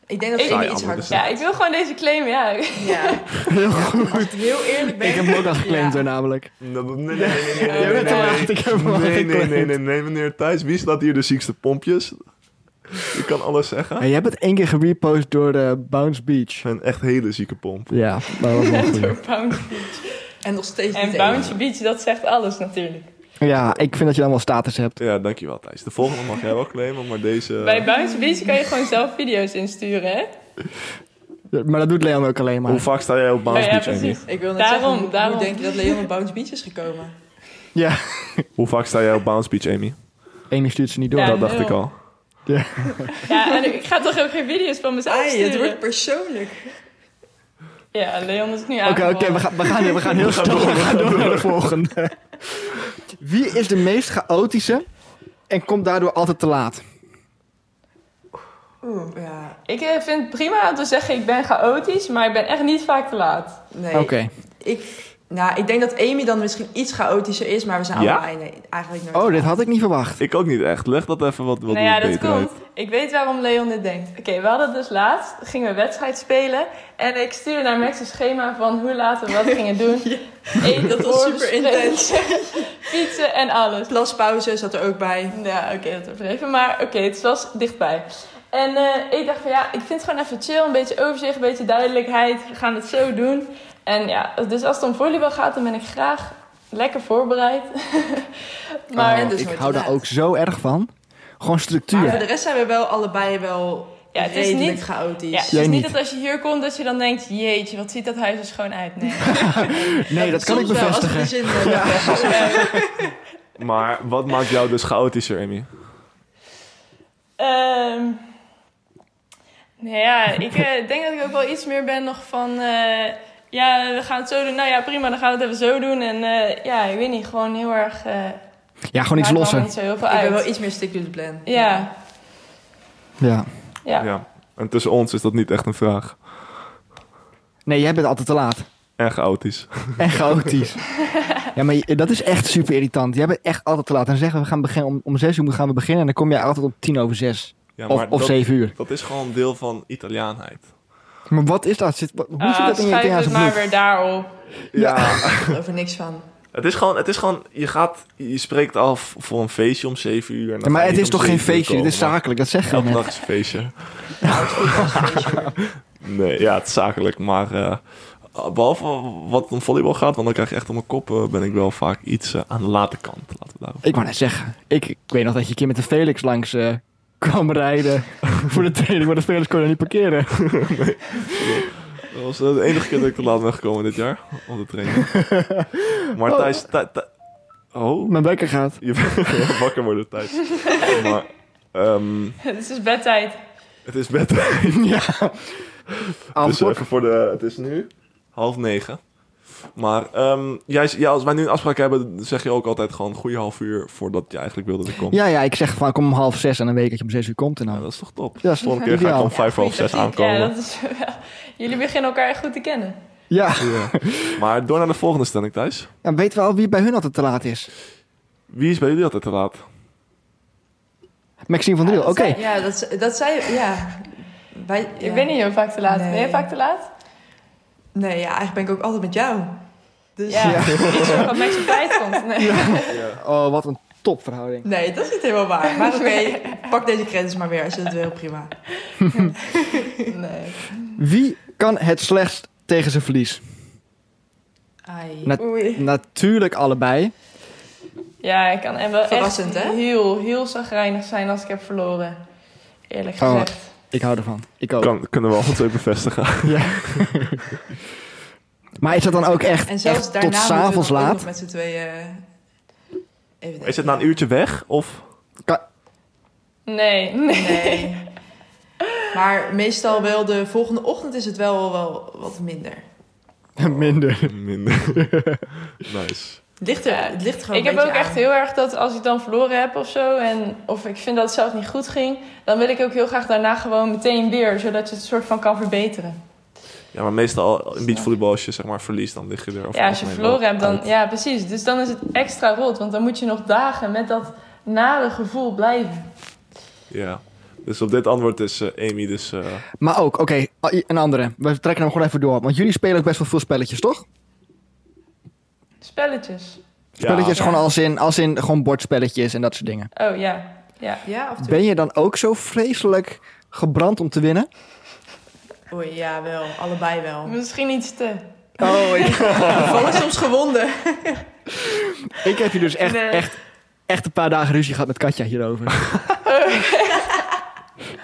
Speaker 4: Ik denk dat
Speaker 5: Ik-
Speaker 4: Amy
Speaker 3: Ja,
Speaker 4: iets harder
Speaker 2: dus
Speaker 3: ja,
Speaker 5: Ja, ik wil gewoon deze claim, ja.
Speaker 4: Ja.
Speaker 2: Heel goed.
Speaker 4: Als ik heel eerlijk ben.
Speaker 2: Ik heb hem ook al geclaimd,
Speaker 4: Ja.
Speaker 2: hoor, namelijk.
Speaker 3: Nee, nee, nee, nee, nee,
Speaker 5: Jij bent te
Speaker 2: laat, ik heb hem al
Speaker 3: nee, nee,
Speaker 2: geclaimd.
Speaker 3: nee, nee, nee, meneer Thijs. Wie staat hier de ziekste pompjes? Ik kan alles zeggen.
Speaker 2: Ja, je hebt het één keer gerepost door de Bounce Beach.
Speaker 3: Een echt hele zieke pomp.
Speaker 2: Ja, dat was wel goed.
Speaker 5: Door Bounty Beach.
Speaker 4: En nog steeds
Speaker 5: En
Speaker 4: niet één.
Speaker 5: Bounty Beach, dat zegt alles natuurlijk.
Speaker 2: Eh. Ja, ik vind dat je dan wel status hebt.
Speaker 3: Ja, dankjewel Thijs. De volgende mag jij wel claimen, maar deze...
Speaker 5: Bij Bounty Beach kan je gewoon zelf video's insturen, hè?
Speaker 2: Maar dat doet Leon ook alleen maar.
Speaker 3: Hoe vaak sta jij op Bounce
Speaker 5: ja,
Speaker 3: Beach,
Speaker 5: precies.
Speaker 3: Amy?
Speaker 4: Ik wil net
Speaker 5: Daarom,
Speaker 4: zeggen, hoe-
Speaker 5: daarom.
Speaker 4: hoe denk je dat Leon op Bounty Beach is gekomen?
Speaker 2: Ja,
Speaker 3: Hoe vaak sta jij op Bounce Beach, Amy?
Speaker 2: Amy stuurt ze niet door.
Speaker 5: Ja.
Speaker 3: Dat dacht
Speaker 5: nul.
Speaker 3: ik al.
Speaker 5: Ja, en ik ga toch ook geen video's van mezelf
Speaker 4: Ai, het
Speaker 5: sturen?
Speaker 4: wordt persoonlijk.
Speaker 5: Ja, Leon is nu
Speaker 2: Oké, oké,
Speaker 5: aangevallen.
Speaker 2: we, gaan, we, gaan, we gaan heel snel we gaan door naar de volgende. Wie is de meest chaotische en komt daardoor altijd te laat?
Speaker 4: Oeh, ja.
Speaker 5: Ik eh, vind het prima om te zeggen ik ben chaotisch, maar ik ben echt niet vaak te laat.
Speaker 4: Nee.
Speaker 2: Oké.
Speaker 4: Ik, nou, ik denk dat Amy dan misschien iets chaotischer is, maar we zijn
Speaker 3: Ja?
Speaker 4: allebei nee, eigenlijk nooit.
Speaker 2: Oh, dit had ik niet verwacht.
Speaker 3: Ik ook niet echt. Leg dat even wat, wat
Speaker 5: nou ja, dat
Speaker 3: beter
Speaker 5: komt.
Speaker 3: uit.
Speaker 5: Ik weet waarom Leon dit denkt. Oké, we hadden dus laatst, gingen we wedstrijd spelen. En ik stuurde naar Max een schema van hoe laat we wat gingen doen. Eten,
Speaker 4: Dat was super
Speaker 5: voorbespreken,
Speaker 4: intens.
Speaker 5: Fietsen en alles.
Speaker 4: Plaspauze zat er ook bij.
Speaker 5: Ja, oké, dat overdreven. Maar oké, het was dichtbij. En eh, ik dacht van ja, ik vind het gewoon even chill. Een beetje overzicht, een beetje duidelijkheid. We gaan het zo doen. En ja, dus als het om volleybal gaat, dan ben ik graag lekker voorbereid. maar
Speaker 4: Oh. dus
Speaker 2: ik
Speaker 4: nooit
Speaker 2: hou
Speaker 4: te
Speaker 2: daar
Speaker 4: laat.
Speaker 2: ook zo erg van. Gewoon
Speaker 4: Maar voor
Speaker 2: structuur.
Speaker 4: de rest zijn we wel allebei wel
Speaker 5: Ja, het is
Speaker 4: redelijk
Speaker 5: niet-
Speaker 4: chaotisch.
Speaker 5: ja, het
Speaker 2: Jij
Speaker 5: is niet
Speaker 2: niet.
Speaker 5: dat als je hier komt dat je dan denkt, jeetje, wat ziet dat huis er schoon uit. Nee.
Speaker 2: Nee, dat kan ik
Speaker 4: Soms wel, als we
Speaker 2: bevestigen.
Speaker 4: er zin in hebben.
Speaker 3: Maar wat maakt jou dus chaotischer, Amy?
Speaker 5: Ehm nou ja, ik eh, denk dat ik ook wel iets meer ben nog van... eh, ja, we gaan het zo doen. Nou ja, prima, dan gaan we het even zo doen. En eh, ja, ik weet niet, gewoon heel erg... eh,
Speaker 2: Ja, gewoon iets
Speaker 5: maakt me allemaal
Speaker 2: lossen.
Speaker 5: niet zo heel veel
Speaker 4: Ik ben
Speaker 5: uit.
Speaker 4: wel iets meer stick to the plan.
Speaker 5: Ja,
Speaker 2: Ja.
Speaker 5: ja.
Speaker 3: Ja. En tussen ons is dat niet echt een vraag.
Speaker 2: Nee, jij bent altijd te laat.
Speaker 3: En chaotisch.
Speaker 2: En chaotisch. ja, maar je- dat is echt super irritant. Jij bent echt altijd te laat. En zeggen we, we gaan beginnen om, om zes uur gaan we beginnen. En dan kom jij altijd om tien over zes.
Speaker 3: Ja,
Speaker 2: of
Speaker 3: maar
Speaker 2: of
Speaker 3: dat,
Speaker 2: zeven uur.
Speaker 3: dat is gewoon deel van Italiaanheid.
Speaker 2: Maar wat is dat? Zit, wat- hoe zit
Speaker 5: Ah,
Speaker 2: dat in je
Speaker 5: schuif
Speaker 2: Italiaanse
Speaker 5: het maar
Speaker 2: bloed?
Speaker 5: weer daarop.
Speaker 3: ja.
Speaker 4: Over niks van.
Speaker 3: Het is gewoon, het is gewoon je, gaat, je spreekt af voor een feestje om 7 uur. En
Speaker 2: Ja,
Speaker 3: dan
Speaker 2: maar
Speaker 3: ga je
Speaker 2: het
Speaker 3: niet
Speaker 2: is
Speaker 3: om
Speaker 2: toch geen
Speaker 3: 7 uur
Speaker 2: feestje? Dit is
Speaker 3: komen.
Speaker 2: zakelijk, dat zeg je
Speaker 3: Elke
Speaker 2: net.
Speaker 3: dag is een feestje.
Speaker 4: Nou, het voelt als een feestje.
Speaker 3: Nee, ja, het is zakelijk. Maar eh, behalve wat om volleybal gaat, want dan krijg je echt op mijn kop, eh, ben ik wel vaak iets eh, aan de late kant. Laten we daarop.
Speaker 2: Ik wou net zeggen. Ik, ik weet nog dat je een keer met de Felix langs eh, kwam rijden voor de training. Maar de Felix kon er niet parkeren.
Speaker 3: Dat was eh, de enige keer dat ik te laat ben gekomen dit jaar. Om de training. Maar Thijs... Thij- Thij- oh,
Speaker 2: Mijn bekker gaat.
Speaker 3: je bent wakker worden Thijs. Maar ehm,
Speaker 5: Het is dus bedtijd.
Speaker 3: het is bedtijd.
Speaker 2: ja.
Speaker 3: Dus
Speaker 2: Antwoord.
Speaker 3: even voor de... Het is nu half negen. Maar ehm, jij, ja, als wij nu een afspraak hebben, zeg je ook altijd gewoon een goede half uur voordat je eigenlijk wilde dat ik kom.
Speaker 2: Ja, ja, ik zeg van kom om half zes en dan weet ik dat je om zes uur komt. En
Speaker 3: Ja,
Speaker 2: dan.
Speaker 3: dat is toch top.
Speaker 2: Ja, is
Speaker 3: Volgende keer ga ik
Speaker 2: ideaal.
Speaker 3: om vijf voor half zes
Speaker 5: Tactiek,
Speaker 3: aankomen.
Speaker 5: Ja, dat is wel... Jullie beginnen elkaar echt goed te kennen.
Speaker 2: Ja.
Speaker 3: Ja. Maar door naar de volgende stelling, Thijs.
Speaker 2: En weten we al wie bij hun altijd te laat is?
Speaker 3: Wie is bij jullie altijd te laat?
Speaker 2: Maxime van der Riel. Oké.
Speaker 4: Ja, dat, ze- dat zei... Ja. Wij,
Speaker 5: Ik
Speaker 4: ja.
Speaker 5: ben niet heel vaak te laat.
Speaker 4: Nee.
Speaker 5: Ben je vaak te laat?
Speaker 4: Nee, ja, eigenlijk ben ik ook altijd met jou. Dus
Speaker 5: Ja. Iets wat met je tijd komt. Nee.
Speaker 2: Oh, wat een topverhouding.
Speaker 4: nee, dat is niet helemaal waar. Maar oké, pak deze credits maar weer. Als je dat wil, prima.
Speaker 5: nee.
Speaker 2: Wie kan het slechtst tegen zijn verlies?
Speaker 4: Ai.
Speaker 2: Nat-
Speaker 5: Oei.
Speaker 2: natuurlijk allebei.
Speaker 5: Ja, ik kan en wel
Speaker 4: Verrassend,
Speaker 5: echt
Speaker 4: hè?
Speaker 5: heel, heel zagrijnig zijn als ik heb verloren. Eerlijk
Speaker 2: Oh.
Speaker 5: gezegd.
Speaker 2: Ik hou ervan. Ik ook.
Speaker 3: Kan, kunnen we al twee bevestigen.
Speaker 2: Ja. maar is dat dan ook echt,
Speaker 4: En zelfs
Speaker 2: echt
Speaker 4: daarna
Speaker 2: tot
Speaker 4: moeten we
Speaker 2: s'avonds
Speaker 4: dan ook
Speaker 2: laat?
Speaker 4: nog met z'n tweeën... eh, Even
Speaker 3: Is het nou na een uurtje weg? Of
Speaker 5: Nee, nee.
Speaker 4: Nee. Maar meestal wel de volgende ochtend is het wel, wel wat minder.
Speaker 2: Minder.
Speaker 3: minder? nice.
Speaker 4: Ligt er,
Speaker 5: Ja.
Speaker 4: het ligt er gewoon
Speaker 5: Ik heb
Speaker 4: een
Speaker 5: ook
Speaker 4: beetje
Speaker 5: echt
Speaker 4: aan.
Speaker 5: heel erg dat als ik dan verloren heb of zo, en of ik vind dat het zelf niet goed ging, dan wil ik ook heel graag daarna gewoon meteen weer, zodat je het soort van kan verbeteren.
Speaker 3: Ja, maar meestal in beachvolleybal als je zeg maar verliest, dan lig je er. over
Speaker 5: ja, als je
Speaker 3: het algemeen
Speaker 5: verloren
Speaker 3: wel
Speaker 5: hebt, dan.
Speaker 3: uit.
Speaker 5: Ja, precies. Dus dan is het extra rot, want dan moet je nog dagen met dat nare gevoel blijven.
Speaker 3: Ja. Dus op dit antwoord is eh, Amy dus... eh,
Speaker 2: Maar ook, oké, oh, een andere. We trekken hem gewoon even door. Want jullie spelen ook best wel veel spelletjes, toch?
Speaker 5: Spelletjes.
Speaker 2: Spelletjes
Speaker 5: Ja.
Speaker 2: gewoon als in, als in gewoon bordspelletjes en dat soort dingen.
Speaker 5: Oh ja. Ja.
Speaker 4: Ja, of
Speaker 2: Ben je dan ook zo vreselijk gebrand om te winnen?
Speaker 4: Oei, ja, wel. Allebei wel.
Speaker 5: Misschien iets te.
Speaker 2: Oh, ik,
Speaker 4: We vallen soms gewonden.
Speaker 2: ik heb hier dus echt,
Speaker 5: Nee.
Speaker 2: echt, echt een paar dagen ruzie gehad met Katja hierover.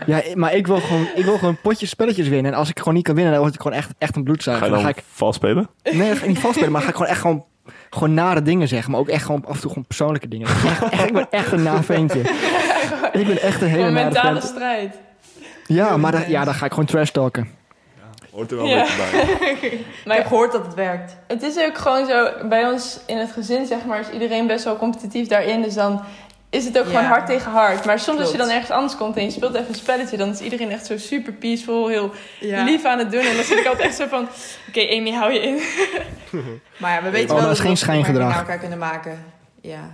Speaker 2: ja, maar ik wil, gewoon, ik wil gewoon potjes spelletjes winnen. En als ik gewoon niet kan winnen, dan word ik gewoon echt, echt een
Speaker 3: ga
Speaker 2: bloedzuiger.
Speaker 3: je
Speaker 2: Dan
Speaker 3: dan
Speaker 2: ga ik,
Speaker 3: vals spelen?
Speaker 2: nee, dat ga ik niet vastspelen, maar dan ga ik gewoon echt gewoon, gewoon nare dingen zeggen. Maar ook echt gewoon af en toe gewoon persoonlijke dingen. Ik ben echt- echt- ik ben echt een naveentje. Ik ben echt een hele
Speaker 5: Een
Speaker 2: nare
Speaker 5: mentale
Speaker 2: vent.
Speaker 5: strijd.
Speaker 2: Ja, maar dan, ja, dan ga ik gewoon trash talken.
Speaker 3: Hoort er wel
Speaker 5: Ja.
Speaker 3: een beetje bij.
Speaker 4: Maar ik heb gehoord dat het werkt.
Speaker 5: Het is ook gewoon zo, bij ons in het gezin, zeg maar, is iedereen best wel competitief daarin. Dus dan is het ook
Speaker 4: Ja.
Speaker 5: gewoon hard tegen hard. Maar soms als je
Speaker 4: Klopt.
Speaker 5: dan ergens anders komt en je speelt even een spelletje, dan is iedereen echt zo super peaceful, heel
Speaker 4: Ja.
Speaker 5: lief aan het doen. En dan zit ik altijd echt zo van, oké Amy, hou je in.
Speaker 4: Maar ja, we weten
Speaker 2: Oh,
Speaker 4: wel
Speaker 2: dat is
Speaker 4: we
Speaker 2: geen
Speaker 4: een
Speaker 2: schijngedrag.
Speaker 4: opmerking naar elkaar kunnen maken. Ja.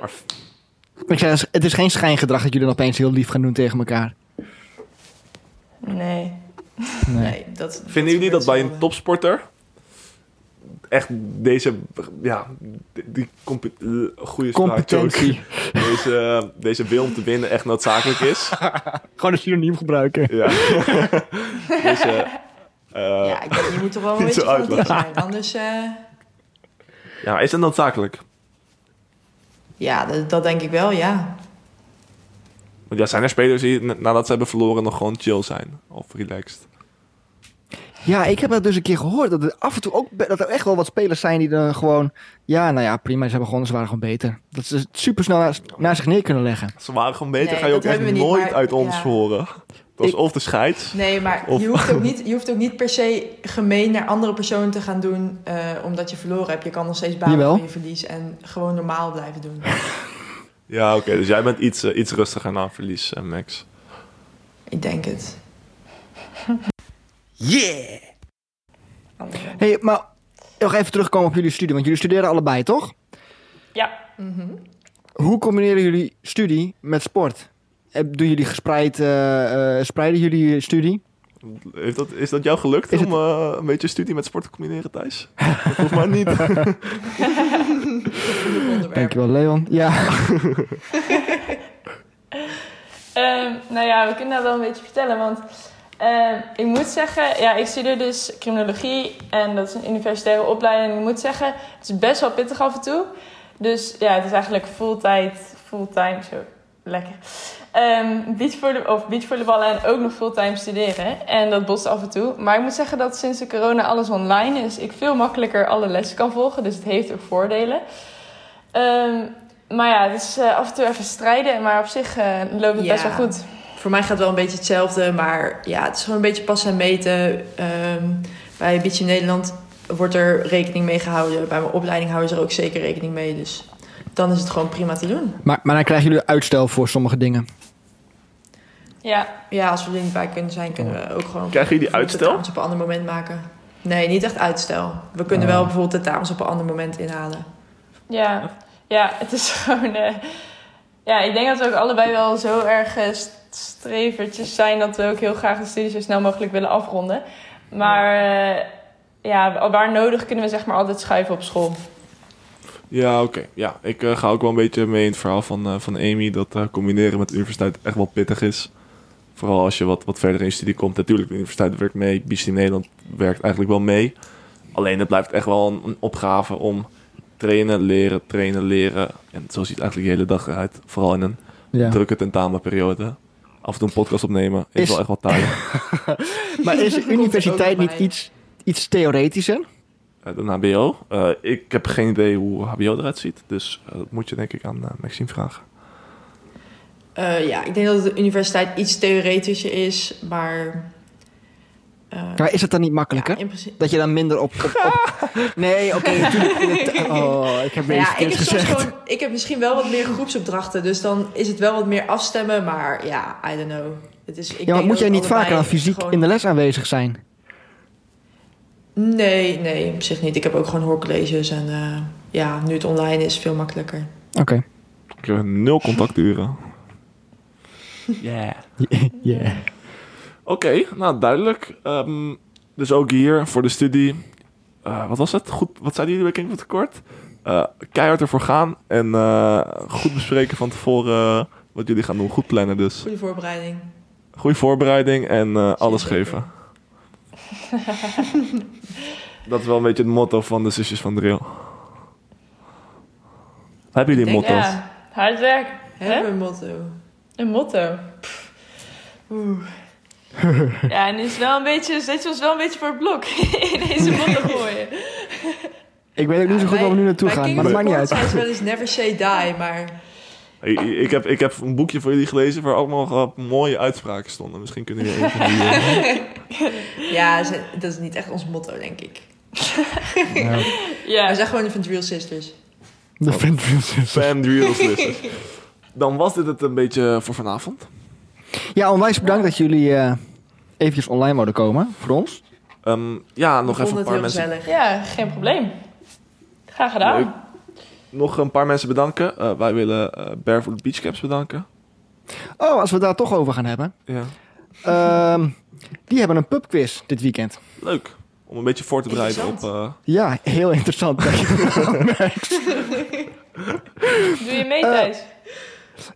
Speaker 3: Maar f-
Speaker 2: Ik zeg, het is geen schijngedrag dat jullie dan opeens heel lief gaan doen tegen elkaar.
Speaker 5: Nee.
Speaker 2: Nee.
Speaker 4: Nee, dat,
Speaker 3: vinden jullie dat bij een
Speaker 4: gebeurt
Speaker 3: topsporter echt deze, ja, die, die compe- eh, goede spraak, joke,
Speaker 2: Competentie.
Speaker 3: deze, deze wil om te winnen echt noodzakelijk is?
Speaker 2: Gewoon een synoniem gebruiken.
Speaker 3: Ja. dus, eh, eh,
Speaker 4: zelden.
Speaker 3: ja.
Speaker 4: Ja, ik denk, je moet er wel een
Speaker 3: Niet zo
Speaker 4: beetje van
Speaker 3: uitlachen.
Speaker 4: zijn. Anders, eh,
Speaker 3: maar is het noodzakelijk?
Speaker 4: ja, dat, dat denk ik wel, ja.
Speaker 3: Want ja, zijn er spelers die na- nadat ze hebben verloren nog gewoon chill zijn? Of relaxed?
Speaker 2: Ja, ik heb dat dus een keer gehoord. Dat er af en toe ook be- dat er echt wel wat spelers zijn die dan gewoon... Ja, nou ja, prima. Ze, hebben gewoon, ze waren gewoon beter. Dat ze het super snel naast, naast zich neer kunnen leggen.
Speaker 3: Ze waren gewoon beter,
Speaker 4: Nee,
Speaker 3: ga je
Speaker 4: dat
Speaker 3: ook echt
Speaker 4: hebben we niet,
Speaker 3: nooit
Speaker 4: maar-
Speaker 3: uit ons
Speaker 4: ja.
Speaker 3: horen. Dat is
Speaker 2: Ik-
Speaker 3: of de scheids.
Speaker 4: Nee, maar
Speaker 3: Of-
Speaker 4: je, hoeft ook niet, je hoeft ook niet per se gemeen naar andere personen te gaan doen eh, omdat je verloren hebt. Je kan nog steeds balen
Speaker 2: Jawel.
Speaker 4: van je verlies en gewoon normaal blijven doen.
Speaker 3: Ja, oké. dus jij bent iets, eh, iets rustiger na een verlies, eh, Max.
Speaker 4: Ik denk het.
Speaker 2: Yeah! hey, maar nog even terugkomen op jullie studie. Want jullie studeren allebei, toch?
Speaker 5: Ja.
Speaker 2: Hoe combineren jullie studie met sport? Eh, Doen jullie gespreid... eh, eh, spreiden jullie je studie?
Speaker 3: Heeft dat, is dat jou gelukt
Speaker 2: Is
Speaker 3: om eh, een beetje studie met sport te combineren, Thijs? Volgens mij niet.
Speaker 4: Moeilijk onderwerp.
Speaker 2: Dankjewel, Leon. Ja.
Speaker 5: Ehm, nou ja, we kunnen dat wel een beetje vertellen. Want ehm, ik moet zeggen, ja, ik studeer dus criminologie en dat is een universitaire opleiding. Ik moet zeggen, het is best wel pittig af en toe. Dus ja, het is eigenlijk fulltime, fulltime, zo lekker. Ehm beachvolley- of beachvolleyballen en ook nog fulltime studeren. En dat botst af en toe. Maar ik moet zeggen dat sinds de corona alles online is, ik veel makkelijker alle lessen kan volgen. Dus het heeft ook voordelen. Ehm, maar ja, het is eh, af en toe even strijden. Maar op zich eh, loopt het
Speaker 4: Ja.
Speaker 5: best wel goed.
Speaker 4: Voor mij gaat het wel een beetje hetzelfde, maar ja, het is gewoon een beetje passen en meten. Ehm, bij Beach in Nederland wordt er rekening mee gehouden. Bij mijn opleiding houden ze er ook zeker rekening mee. Dus dan is het gewoon prima te doen.
Speaker 2: Maar, maar dan krijgen jullie uitstel voor sommige dingen.
Speaker 5: Ja,
Speaker 4: Ja, als we er niet bij kunnen zijn, kunnen we ook gewoon.
Speaker 3: Krijgen jullie
Speaker 4: bijvoorbeeld
Speaker 3: uitstel?
Speaker 4: tentamens op een ander moment maken. Nee, niet echt uitstel. We kunnen
Speaker 2: Oh.
Speaker 4: wel bijvoorbeeld de tentamens op een ander moment inhalen.
Speaker 5: Ja, ja het is gewoon. eh, ja, ik denk dat we ook allebei wel zo erg eh, st- strevertjes zijn dat we ook heel graag de studie zo snel mogelijk willen afronden. Maar eh, ja, waar nodig kunnen we zeg maar altijd schuiven op school.
Speaker 3: Ja, oké. Ja, ik eh, ga ook wel een beetje mee in het verhaal van, eh, van Amy. Dat eh, combineren met de universiteit echt wel pittig is. Vooral als je wat, wat verder in je studie komt. Natuurlijk, de universiteit werkt mee. BC Nederland werkt eigenlijk wel mee. Alleen het blijft echt wel een, een opgave om trainen, leren, trainen, leren. En zo ziet het eigenlijk de hele dag uit. Vooral in een
Speaker 2: Ja.
Speaker 3: drukke tentamenperiode. Af en toe een podcast opnemen is,
Speaker 2: Is-
Speaker 3: wel echt wel taai.
Speaker 2: Maar is de
Speaker 4: Komt er ook
Speaker 2: universiteit
Speaker 4: bij.
Speaker 2: niet iets, iets theoretischer?
Speaker 3: Eh, een HBO. Eh, ik heb geen idee hoe HBO eruit ziet. Dus eh, dat moet je denk ik aan eh, Maxime vragen.
Speaker 4: Eh, ja, ik denk dat de universiteit iets theoretischer is, maar... eh,
Speaker 2: Maar is het dan niet makkelijker?
Speaker 4: ja, in principe...
Speaker 2: Dat je dan minder op... op, op- Nee, oké, natuurlijk. Oh, ik heb
Speaker 4: Nou
Speaker 2: weer iets
Speaker 4: ja, ik
Speaker 2: verkeerds
Speaker 4: heb, soms
Speaker 2: gezegd.
Speaker 4: gewoon, ik heb misschien wel wat meer groepsopdrachten, dus dan is het wel wat meer afstemmen, maar ja, I don't know. Het is, ik
Speaker 2: Ja, maar
Speaker 4: denk
Speaker 2: moet
Speaker 4: dat
Speaker 2: jij
Speaker 4: het
Speaker 2: niet vaker
Speaker 4: allebei
Speaker 2: dan fysiek
Speaker 4: gewoon-
Speaker 2: in de les aanwezig zijn?
Speaker 4: Nee, nee, op zich niet. Ik heb ook gewoon hoorcolleges en eh, ja, nu het online is veel makkelijker.
Speaker 2: Oké.
Speaker 3: Ik heb nul contacturen.
Speaker 2: Yeah.
Speaker 3: Oké, nou duidelijk. Ehm, dus ook hier voor de studie. eh, wat was het? Goed, wat zeiden jullie bij King van Tekort? Eh keihard ervoor gaan en eh, goed bespreken van tevoren eh, wat jullie gaan doen. Goed plannen dus.
Speaker 4: Goede voorbereiding.
Speaker 3: Goede voorbereiding en eh, alles
Speaker 4: Zeker.
Speaker 3: geven. Dat is wel een beetje het motto van de zusjes van Drill. Hebben jullie
Speaker 4: Ik denk-
Speaker 3: motto's?
Speaker 5: Ja, hard werk. Hè?
Speaker 4: Hebben we een motto.
Speaker 5: Een motto. Ja, en is wel een beetje, zet je ons wel een beetje voor het blok in deze motto gooien.
Speaker 2: Ik weet ook niet zo goed waar we nu naartoe
Speaker 4: Bij
Speaker 2: gaan,
Speaker 4: King
Speaker 2: maar dat
Speaker 4: of
Speaker 2: maakt niet uit.
Speaker 4: Sports is wel eens never say die, maar
Speaker 3: Ik, ik, heb, ik heb een boekje voor jullie gelezen waar allemaal eh, mooie uitspraken stonden. Misschien kunnen jullie even die... eh,
Speaker 4: ja, ze- dat is niet echt ons motto, denk ik.
Speaker 5: Ja,
Speaker 4: We zijn gewoon van de Real Sisters.
Speaker 2: De Friendviews.
Speaker 3: Sam Reels listen. Dan was dit het een beetje eh, voor vanavond.
Speaker 2: Ja, onwijs bedankt dat jullie eh eventjes online mogen komen voor ons.
Speaker 3: Ehm, ja, nog
Speaker 4: Ik
Speaker 3: even
Speaker 4: vond
Speaker 3: een
Speaker 4: het
Speaker 3: paar
Speaker 4: heel
Speaker 3: mensen.
Speaker 4: gezellig.
Speaker 5: ja geen probleem. Graag gedaan.
Speaker 3: Leuk. Nog een paar mensen bedanken. Eh, wij willen eh Barefoot Beachcaps bedanken.
Speaker 2: Oh, als we het daar toch over gaan hebben.
Speaker 3: Ja.
Speaker 2: Ehm, die hebben een pubquiz dit weekend.
Speaker 3: Leuk. Om een beetje voor te bereiden op. eh,
Speaker 2: Ja, heel interessant. dankjewel.
Speaker 5: Doe je mee, Thijs?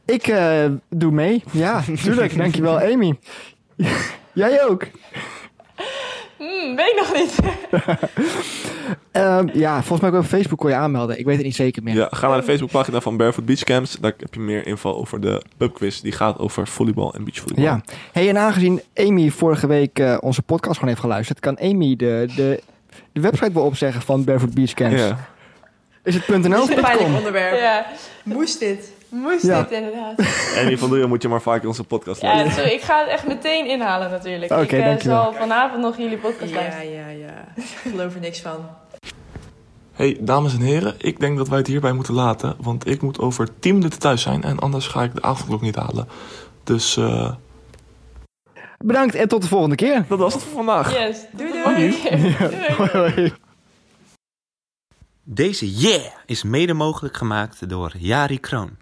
Speaker 2: ik eh, doe mee. Ja, tuurlijk. Dankjewel, Amy. Jij ook.
Speaker 5: Hmm, weet ik nog niet.
Speaker 2: Ehm, ja, volgens mij ook op Facebook kon je aanmelden. Ik weet het niet zeker meer.
Speaker 3: eh, ja, ga naar de Facebookpagina van Barefoot Beachcamps. Daar heb je meer info over de pubquiz. Die gaat over volleybal en beachvolleybal.
Speaker 2: Ja. Hey, en aangezien Amy vorige week eh, onze podcast gewoon heeft geluisterd, kan Amy de, de, de website wel opzeggen van Barefoot Beach Camps.
Speaker 3: Ja.
Speaker 2: Is het .nl
Speaker 4: Dat
Speaker 2: of
Speaker 4: is een pijnlijk
Speaker 2: .com?
Speaker 4: onderwerp.
Speaker 5: Ja,
Speaker 4: Moest dit?
Speaker 5: moest
Speaker 2: Ja.
Speaker 5: dit inderdaad.
Speaker 3: En die van Duren moet je maar vaker onze podcast
Speaker 5: Ja,
Speaker 3: luisteren.
Speaker 5: sorry, ik ga het echt meteen inhalen natuurlijk.
Speaker 2: Oké,
Speaker 5: ik eh,
Speaker 2: dankjewel.
Speaker 5: zal vanavond nog jullie podcast
Speaker 4: Ja,
Speaker 5: luisteren.
Speaker 4: ja, ja. Ik geloof er niks van.
Speaker 3: Hey, dames en heren, ik denk dat wij het hierbij moeten laten. Want ik moet over 10 minuten thuis zijn. En anders ga ik de avondklok niet halen. Dus eh,
Speaker 2: Bedankt en tot de volgende keer.
Speaker 3: dat was het voor vandaag.
Speaker 5: Yes, doei
Speaker 4: Doei.
Speaker 5: doei.
Speaker 6: Deze Yeah is mede mogelijk gemaakt door Jari Kroon.